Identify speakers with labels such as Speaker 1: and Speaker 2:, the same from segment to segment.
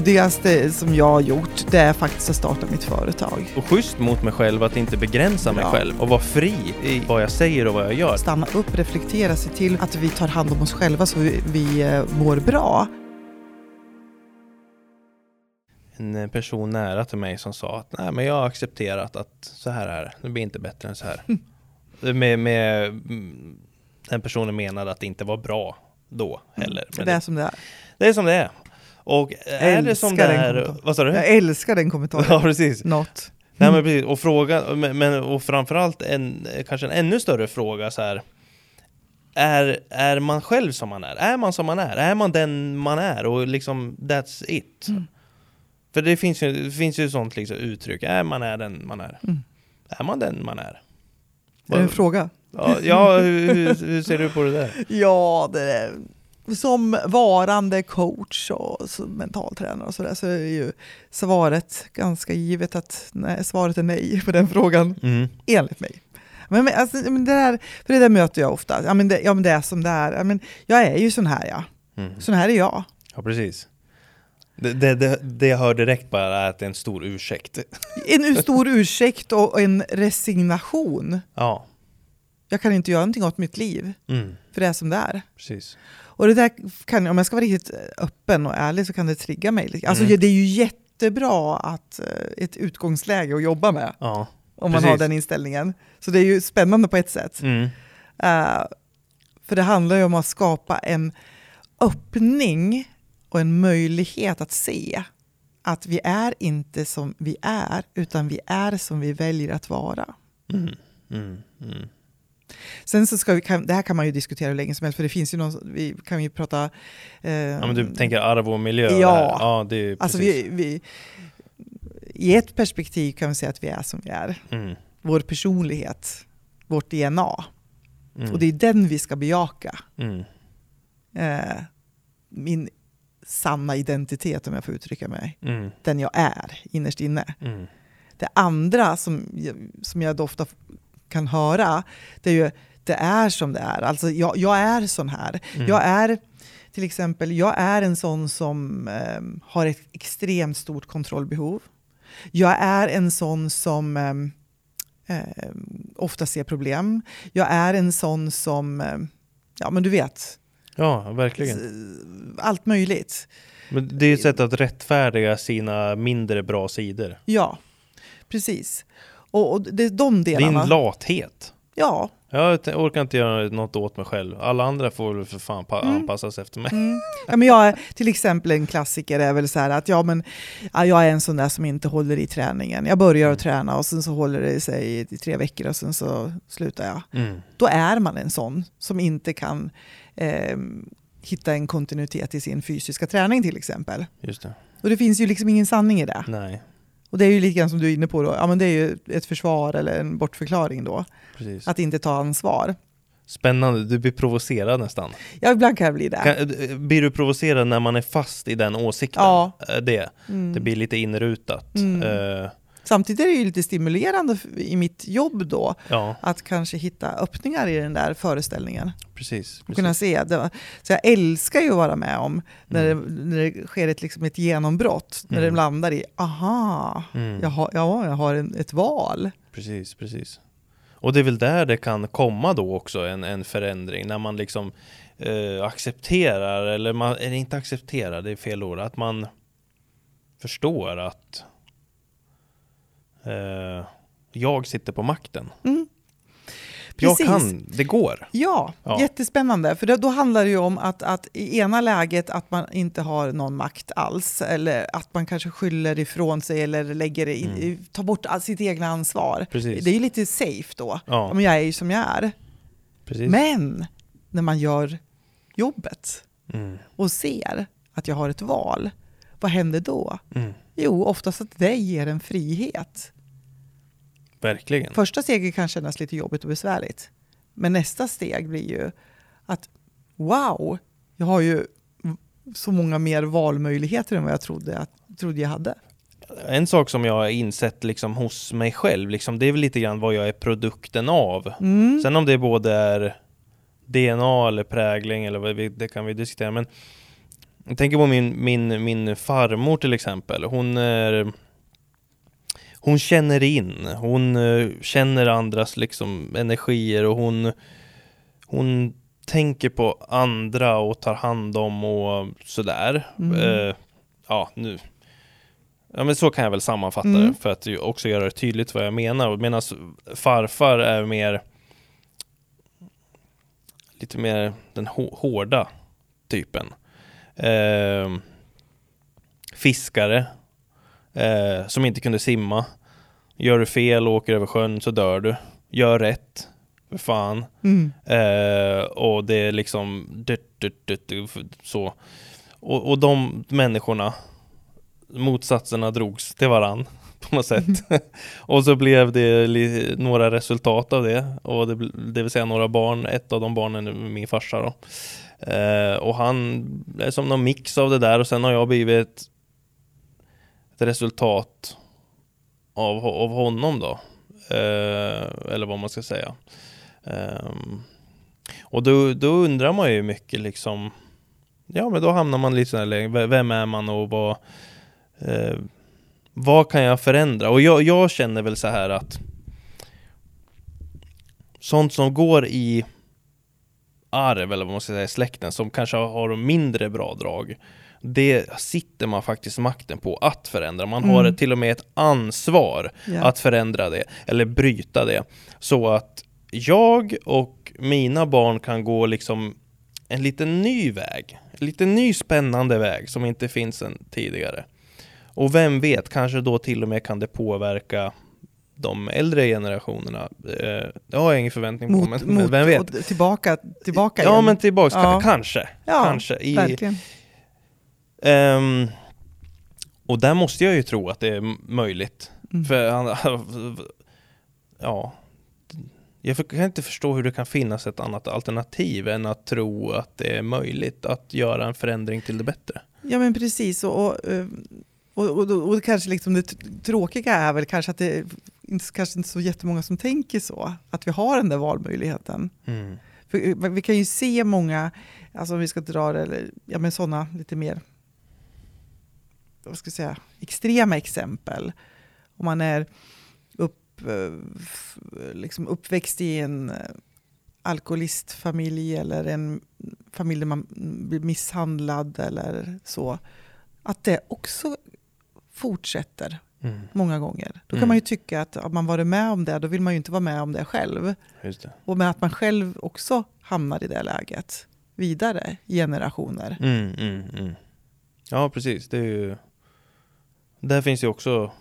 Speaker 1: modigaste som jag har gjort, det är faktiskt att starta mitt företag.
Speaker 2: Och schysst mot mig själv att inte begränsa mig
Speaker 1: Ja.
Speaker 2: själv och vara fri i vad jag säger och vad jag gör.
Speaker 1: Stanna upp, reflektera, se till att vi tar hand om oss själva så vi, vi eh, mår bra.
Speaker 2: En eh, person nära till mig som sa att Nej, men jag har accepterat att så här är det, det blir inte bättre än så här. med, med, mm, den personen menade att det inte var bra då heller. Men
Speaker 1: det är som det är.
Speaker 2: det är som det är. Och eh, är det som det
Speaker 1: Älskar den kommentaren.
Speaker 2: är, vad sa du?
Speaker 1: Jag älskar den kommentaren.
Speaker 2: Ja, precis.
Speaker 1: Något.
Speaker 2: Nej men precis, och frågan, men, men och framförallt en, kanske en ännu större fråga så här. Är, är man själv som man är? Är man som man är? Är man den man är? Och liksom, that's it. För det finns ju, det finns ju sånt liksom uttryck, är man är den man är?
Speaker 1: Mm.
Speaker 2: Är man den man är?
Speaker 1: Är det en fråga?
Speaker 2: Ja, ja hur, hur, hur ser du på det där?
Speaker 1: Ja, det är, som varande coach och så, mentaltränare och sådär så är ju svaret ganska givet att nej, svaret är nej på den frågan,
Speaker 2: Mm.
Speaker 1: enligt mig. Men, men, alltså, men det, där, för det där möter jag ofta. Ja men det, ja, men det är som det är. Ja, men jag är ju sån här ja.
Speaker 2: Mm.
Speaker 1: Sån här är jag.
Speaker 2: Ja, precis. Det, det, det, det jag hör direkt bara är att det är en stor ursäkt.
Speaker 1: En u- stor ursäkt och och en resignation.
Speaker 2: Ja,
Speaker 1: Jag kan inte göra någonting åt mitt liv,
Speaker 2: mm.
Speaker 1: för det är som det är.
Speaker 2: precis.
Speaker 1: Och det där kan, om jag ska vara riktigt öppen och ärlig så kan det trigga mig. lite. Alltså,
Speaker 2: Mm.
Speaker 1: Det är ju jättebra att eh, ett utgångsläge att jobba med
Speaker 2: Ja.
Speaker 1: om man
Speaker 2: Precis.
Speaker 1: har den inställningen. Så det är ju spännande på ett sätt.
Speaker 2: Mm.
Speaker 1: Eh, för det handlar ju om att skapa en öppning och en möjlighet att se att vi är inte som vi är, utan vi är som vi väljer att vara.
Speaker 2: Mm. Mm. Mm.
Speaker 1: Sen så ska vi, kan, det här kan man ju diskutera hur länge som helst, för det finns ju någon, vi kan ju prata... eh,
Speaker 2: Ja men du tänker arv och miljö? och
Speaker 1: Ja.
Speaker 2: det här. ja det är ju
Speaker 1: Alltså
Speaker 2: precis.
Speaker 1: vi, vi, I ett perspektiv kan vi säga att vi är som vi är.
Speaker 2: Mm.
Speaker 1: Vår personlighet, vårt DNA.
Speaker 2: Mm.
Speaker 1: Och det är den vi ska bejaka.
Speaker 2: mm.
Speaker 1: Eh, min sanna identitet, om jag får uttrycka mig.
Speaker 2: Mm.
Speaker 1: Den jag är, innerst inne.
Speaker 2: Mm.
Speaker 1: Det andra som, jag- som jag då ofta kan höra, det är ju det är som det är. Alltså jag, jag är sån här. Jag är till exempel, jag är en sån som ehm, har ett extremt stort kontrollbehov. Jag är en sån som ehm, ehm, ofta ser problem. Jag är en sån som, ehm, ja men du vet,
Speaker 2: Ja, verkligen.
Speaker 1: allt möjligt.
Speaker 2: Men det är ju ett sätt att rättfärdiga sina mindre bra sidor.
Speaker 1: Ja, precis. Och, och det är de
Speaker 2: Din
Speaker 1: delarna.
Speaker 2: lathet.
Speaker 1: ja,
Speaker 2: Jag t- orkar inte göra något åt mig själv. Alla andra får väl för fan pa-
Speaker 1: Mm.
Speaker 2: anpassas efter mig.
Speaker 1: Ja, men jag är, till exempel en klassiker är väl så här att ja, men, ja, jag är en sån där som inte håller i träningen. Jag börjar att träna och sen så håller det sig i tre veckor och sen så slutar jag.
Speaker 2: Mm.
Speaker 1: Då är man en sån som inte kan ehm, hitta en kontinuitet i sin fysiska träning till exempel.
Speaker 2: Just det.
Speaker 1: Och det finns ju liksom ingen sanning i det.
Speaker 2: Nej,
Speaker 1: Och det är ju lite grann som du är inne på då, ja men det är ju ett försvar eller en bortförklaring då,
Speaker 2: precis.
Speaker 1: att inte ta ansvar.
Speaker 2: Spännande, du blir provocerad nästan.
Speaker 1: Ja, ibland kan jag bli det.
Speaker 2: Kan, blir du provocerad när man är fast i den åsikten?
Speaker 1: Ja.
Speaker 2: Eh, Det,
Speaker 1: Mm.
Speaker 2: det blir lite inrutat. Eh,
Speaker 1: Samtidigt är det ju lite stimulerande f- i mitt jobb då,
Speaker 2: ja,
Speaker 1: att kanske hitta öppningar i den där föreställningen.
Speaker 2: precis.
Speaker 1: Och
Speaker 2: precis.
Speaker 1: kunna se. Det. var- Så jag älskar ju att vara med om när, det,
Speaker 2: Mm.
Speaker 1: när det sker ett, liksom ett genombrott, när det landar i aha,
Speaker 2: Mm.
Speaker 1: jag har, ja, jag har en, ett val.
Speaker 2: Precis, precis. Och det är väl där det kan komma då också en, en förändring när man liksom eh, accepterar eller man eller inte accepterar, det är fel ord, att man förstår att eh, jag sitter på makten. Jag
Speaker 1: Mm. Precis.
Speaker 2: kan, det går.
Speaker 1: Ja,
Speaker 2: Ja.
Speaker 1: jättespännande. För då, då handlar det ju om att, att i ena läget att man inte har någon makt alls, eller att man kanske skyller ifrån sig eller lägger i,
Speaker 2: Mm.
Speaker 1: i- tar bort all- sitt egna ansvar.
Speaker 2: Precis.
Speaker 1: Det är ju lite safe då.
Speaker 2: Ja.
Speaker 1: Men jag är ju som jag är.
Speaker 2: Precis.
Speaker 1: Men när man gör jobbet
Speaker 2: Mm,
Speaker 1: och ser att jag har ett val, vad händer då?
Speaker 2: mm,
Speaker 1: Jo, oftast att det ger en frihet.
Speaker 2: verkligen.
Speaker 1: Första steget kan kännas lite jobbigt och besvärligt. Men nästa steg blir ju att wow, jag har ju så många mer valmöjligheter än vad jag trodde, att, trodde jag hade.
Speaker 2: En sak som jag har insett liksom hos mig själv, liksom, det är väl lite grann vad jag är produkten av.
Speaker 1: Mm.
Speaker 2: Sen om det både är DNA eller prägling eller vad vi, det kan vi diskutera, men Jag tänker på min, min, min farmor till exempel. Hon är, Hon känner in, hon eh, känner andras liksom energier och hon, hon tänker på andra och tar hand om och sådär.
Speaker 1: Mm.
Speaker 2: Eh, ja, nu. Ja, men så kan jag väl sammanfatta
Speaker 1: Mm.
Speaker 2: det för att ju också göra det tydligt vad jag menar. Medan farfar är mer lite mer den hå- hårda typen. Ehm, fiskare eh, som inte kunde simma. Gör du fel och åker över sjön så dör du. Gör rätt. För fan.
Speaker 1: Mm.
Speaker 2: Eh, och det är liksom dut, dut, dut, dut, f- så. Och, och de människorna, motsatserna drogs till varann på något sätt. och så blev det li- några resultat av det. Och det, bl- det vill säga några barn, ett av de barnen är min farsa då. Eh, och han är som någon mix av det där och sen har jag blivit ett, ett resultat av, ho- av honom då. Eh, eller vad man ska säga. Ehm, och då, då undrar man ju mycket liksom Ja men då hamnar man lite sådär längre, V- vem är man och vad eh, Vad kan jag förändra? Och jag, jag känner väl så här att Sånt som går i arv eller vad man ska säga i släkten som kanske har de mindre bra drag Det sitter man faktiskt makten på att förändra, man har
Speaker 1: Mm.
Speaker 2: till och med ett ansvar
Speaker 1: Ja.
Speaker 2: att förändra det eller bryta det så att jag och mina barn kan gå liksom en liten ny väg, en liten ny spännande väg som inte finns än tidigare. Och vem vet, kanske då till och med kan det påverka de äldre generationerna. Eh, Det har jag ingen förväntning på,
Speaker 1: Mot,
Speaker 2: men, men
Speaker 1: mot,
Speaker 2: vem vet?
Speaker 1: och tillbaka, tillbaka
Speaker 2: Ja,
Speaker 1: igen.
Speaker 2: men tillbaks, ka-
Speaker 1: Ja.
Speaker 2: kanske.
Speaker 1: Ja,
Speaker 2: kanske. I,
Speaker 1: Verkligen.
Speaker 2: Ehm, och där måste jag ju tro att det är m- möjligt.
Speaker 1: Mm.
Speaker 2: För han, ja, jag för- kan inte förstå hur det kan finnas ett annat alternativ än att tro att det är möjligt att göra en förändring till det bättre.
Speaker 1: Ja men precis. Och, och, eh, och, och, och, och kanske liksom det t- tråkiga är väl kanske att det är inte, kanske inte så jättemånga som tänker så. Att vi har den där valmöjligheten. För, eh, vi kan ju se många, alltså om vi ska dra det, eller, ja men sådana lite mer, vad ska jag säga, extrema exempel. Om man är upp, eh, f- liksom uppväxt i en eh, alkoholistfamilj eller en familj där man mm, blir misshandlad eller så. Att det också fortsätter många gånger. Då kan
Speaker 2: Mm.
Speaker 1: man ju tycka att har man varit med om det, då vill man ju inte vara med om det själv.
Speaker 2: Just det.
Speaker 1: Och med att man själv också hamnar i det läget vidare i generationer.
Speaker 2: Mm, mm, mm. Ja, precis. Det är ju, där finns ju också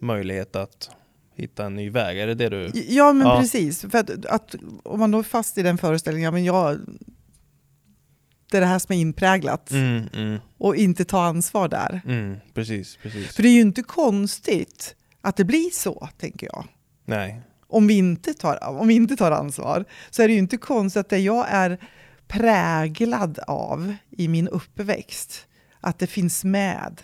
Speaker 2: möjlighet att hitta en ny väg. Är det det du...
Speaker 1: Ja, men
Speaker 2: Mm. Ja.
Speaker 1: precis. För att, att, om man då är fast i den föreställningen, ja, men jag, det är det här som är inpräglat
Speaker 2: Mm, mm,
Speaker 1: och inte ta ansvar där.
Speaker 2: mm, precis, precis.
Speaker 1: För det är ju inte konstigt att det blir så, tänker jag.
Speaker 2: Nej.
Speaker 1: Om vi inte tar, om vi inte tar ansvar så är det ju inte konstigt att det jag är präglad av i min uppväxt, att det finns med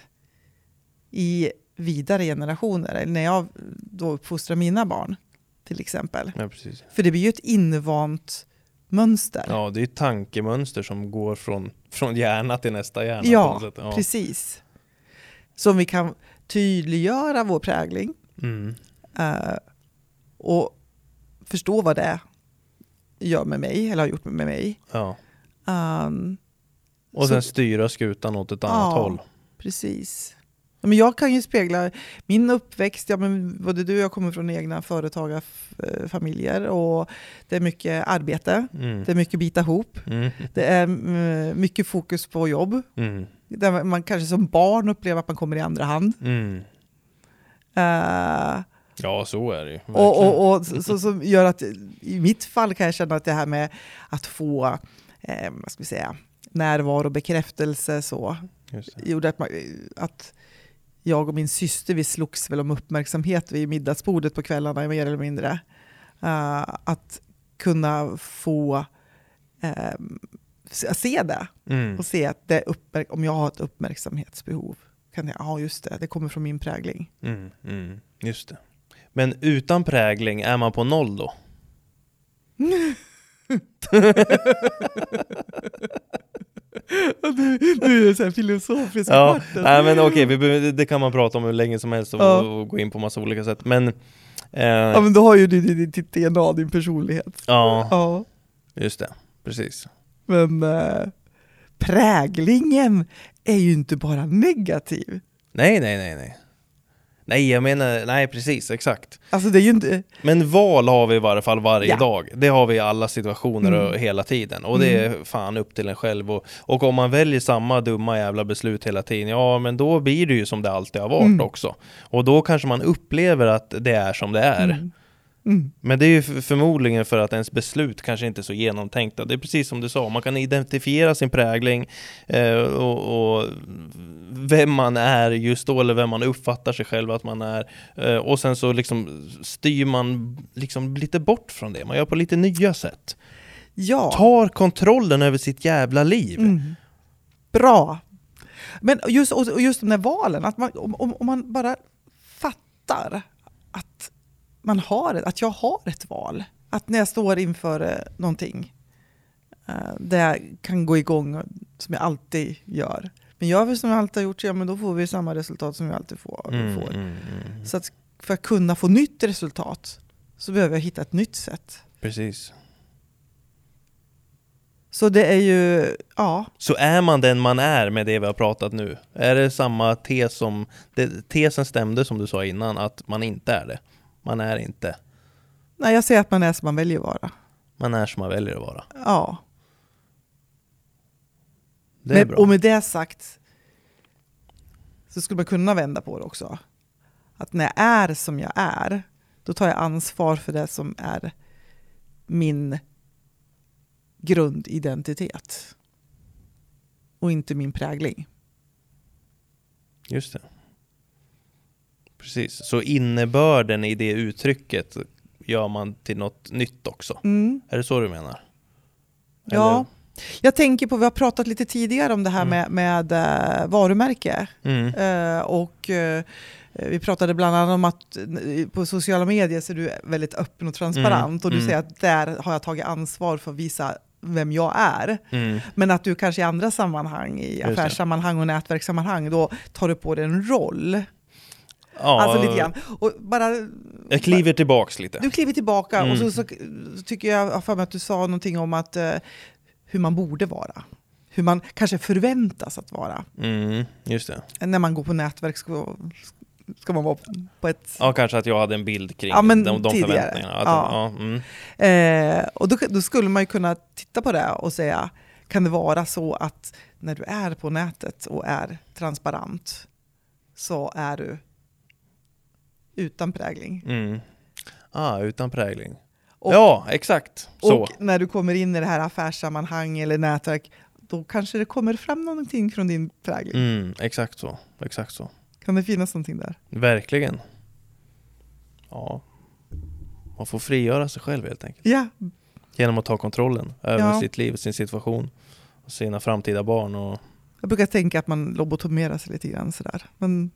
Speaker 1: i vidare generationer, eller när jag då uppfostrar mina barn till exempel.
Speaker 2: Ja, precis.
Speaker 1: För det blir ju ett invant mönster.
Speaker 2: Ja, det är ju tankemönster som går från, från hjärna till nästa hjärna. på
Speaker 1: Ja,
Speaker 2: något sätt. ja.
Speaker 1: precis. Så om vi kan tydliggöra vår prägling
Speaker 2: Mm.
Speaker 1: eh, och förstå vad det gör med mig, eller har gjort med mig,
Speaker 2: Ja.
Speaker 1: Ehm,
Speaker 2: Och
Speaker 1: Så-
Speaker 2: sen styra skutan åt ett annat
Speaker 1: Ja.
Speaker 2: håll.
Speaker 1: precis. Ja, Men jag kan ju spegla min uppväxt, ja, men både du och jag kommer från egna företagarfamiljer och det är mycket arbete,
Speaker 2: Mm.
Speaker 1: det är mycket bita ihop,
Speaker 2: Mm.
Speaker 1: det är mm, mycket fokus på jobb.
Speaker 2: Mm.
Speaker 1: Där man kanske som barn upplever att man kommer i andra hand.
Speaker 2: Mm.
Speaker 1: Eh,
Speaker 2: Ja, så är det ju. Verkligen.
Speaker 1: och, och, och så, så, som gör att i mitt fall kan jag känna att det här med att få eh, vad ska vi säga, närvaro och bekräftelse så
Speaker 2: Just det.
Speaker 1: gjorde att, man, att jag och min syster vi slogs väl om uppmärksamhet vid middagsbordet på kvällarna mer eller mindre. Eh, att kunna få eh, se- se det
Speaker 2: Mm.
Speaker 1: och se att det är uppmärk- om jag har ett uppmärksamhetsbehov kan jag, ja just det, det kommer från min prägling.
Speaker 2: Mm. Mm. Just det. Men utan prägling, är man på noll då?
Speaker 1: Du, du är så här filosofisk. i
Speaker 2: Ja,
Speaker 1: farten.
Speaker 2: nej, men okej, vi behöver- det kan man prata om hur länge som helst och,
Speaker 1: Ja.
Speaker 2: och gå in på massa olika sätt. Men, eh,
Speaker 1: ja,
Speaker 2: ja,
Speaker 1: men då har ju du din- ditt DNA, din personlighet. Ja,
Speaker 2: just det. Precis.
Speaker 1: men eh, präglingen är ju inte bara negativ.
Speaker 2: Nej, nej, nej, nej. Nej, jag menar, nej precis, exakt.
Speaker 1: Alltså det är ju inte...
Speaker 2: Men val har vi i varje fall varje
Speaker 1: Ja.
Speaker 2: dag. Det har vi i alla situationer och
Speaker 1: Mm.
Speaker 2: hela tiden. Och det är fan upp till en själv. Och, och om man väljer samma dumma jävla beslut hela tiden, ja men då blir det ju som det alltid har varit
Speaker 1: Mm.
Speaker 2: också. Och då kanske man upplever att det är som det är.
Speaker 1: Mm. Mm.
Speaker 2: Men det är ju f- förmodligen för att ens beslut kanske inte är så genomtänkta. Det är precis som du sa, man kan identifiera sin prägling eh, och, och vem man är just då, eller vem man uppfattar sig själv att man är. Eh, och sen så liksom styr man liksom lite bort från det, man gör på lite nya sätt.
Speaker 1: Ja.
Speaker 2: Tar kontrollen över sitt jävla liv.
Speaker 1: Mm. Bra. Men just, och och just de där valen, att man, om, om om man bara fattar att, man har, ett- att jag har ett val. Att när jag står inför eh, någonting eh, där jag kan gå igång, och- som jag alltid gör. Men gör vi som jag alltid har gjort, ja men då får vi samma resultat som vi alltid får.
Speaker 2: Mm,
Speaker 1: får.
Speaker 2: mm, mm.
Speaker 1: Så att för att kunna få nytt resultat så behöver jag hitta ett nytt sätt.
Speaker 2: Precis.
Speaker 1: Så det är ju, ja,
Speaker 2: Så är man den man är med det vi har pratat nu? Är det samma tes som... Det, tesen stämde som du sa innan, att man inte är det. Man är inte.
Speaker 1: nej, jag säger att man är som man väljer att vara.
Speaker 2: Man är som man väljer att vara.
Speaker 1: Ja.
Speaker 2: Det är
Speaker 1: Men-
Speaker 2: bra.
Speaker 1: och med det sagt så skulle man kunna vända på det också. Att när jag är som jag är, då tar jag ansvar för det som är min grundidentitet. Och inte min prägling.
Speaker 2: Just det. Precis. Så innebörden i det uttrycket gör man till något nytt också.
Speaker 1: Mm.
Speaker 2: Är det så du menar?
Speaker 1: Ja. Jag tänker på, vi har pratat lite tidigare om det här
Speaker 2: Mm.
Speaker 1: med, med eh, varumärke.
Speaker 2: Eller? Mm.
Speaker 1: Eh, och eh, vi pratade bland annat om att eh, på sociala medier så är du väldigt öppen och transparent.
Speaker 2: Mm,
Speaker 1: Och du
Speaker 2: mm.
Speaker 1: säger att där har jag tagit ansvar för att visa vem jag är.
Speaker 2: Mm.
Speaker 1: Men att du kanske i andra sammanhang, i
Speaker 2: Just det.
Speaker 1: affärssammanhang och nätverkssammanhang, då tar du på dig en roll.
Speaker 2: Ja,
Speaker 1: Alltså lite grann. Och bara,
Speaker 2: Jag kliver tillbaks lite.
Speaker 1: du kliver tillbaka
Speaker 2: Mm.
Speaker 1: och så, så, så tycker jag jag har för mig att du sa någonting om att, eh, hur man borde vara. Hur man kanske förväntas att vara.
Speaker 2: Mm. Just det.
Speaker 1: När man går på nätverk ska, ska man vara på ett
Speaker 2: Ja, kanske att jag hade en bild kring
Speaker 1: Ja, men
Speaker 2: de, de
Speaker 1: tidigare.
Speaker 2: förväntningarna. Att,
Speaker 1: Ja.
Speaker 2: ja, mm.
Speaker 1: Eh, och då, då skulle man ju kunna titta på det och säga, kan det vara så att när du är på nätet och är transparent så är du utan prägling?
Speaker 2: Mm. Ah, utan prägling.
Speaker 1: Och-
Speaker 2: ja, exakt så.
Speaker 1: Och när du kommer in i det här affärssammanhang eller nätverk, då kanske det kommer fram någonting från din prägling.
Speaker 2: Mm, exakt så. Exakt så.
Speaker 1: Kan det finnas någonting där?
Speaker 2: Verkligen. Ja. Man får frigöra sig själv helt enkelt.
Speaker 1: Ja,
Speaker 2: Genom att ta kontrollen över
Speaker 1: Ja.
Speaker 2: sitt liv, sin situation, och sina framtida barn och
Speaker 1: jag brukar tänka att man lobotomerar sig lite grann sådär. Men,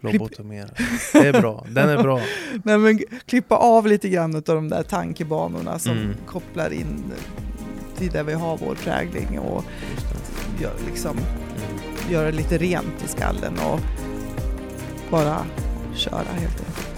Speaker 2: lobotomera. Det är bra. Den är bra.
Speaker 1: nej, men klippa av lite grann av de där tankebanorna som
Speaker 2: Mm.
Speaker 1: kopplar in till där vi har vår prägling och
Speaker 2: Just det.
Speaker 1: gör, liksom,
Speaker 2: Mm.
Speaker 1: göra lite rent i skallen och bara köra helt enkelt.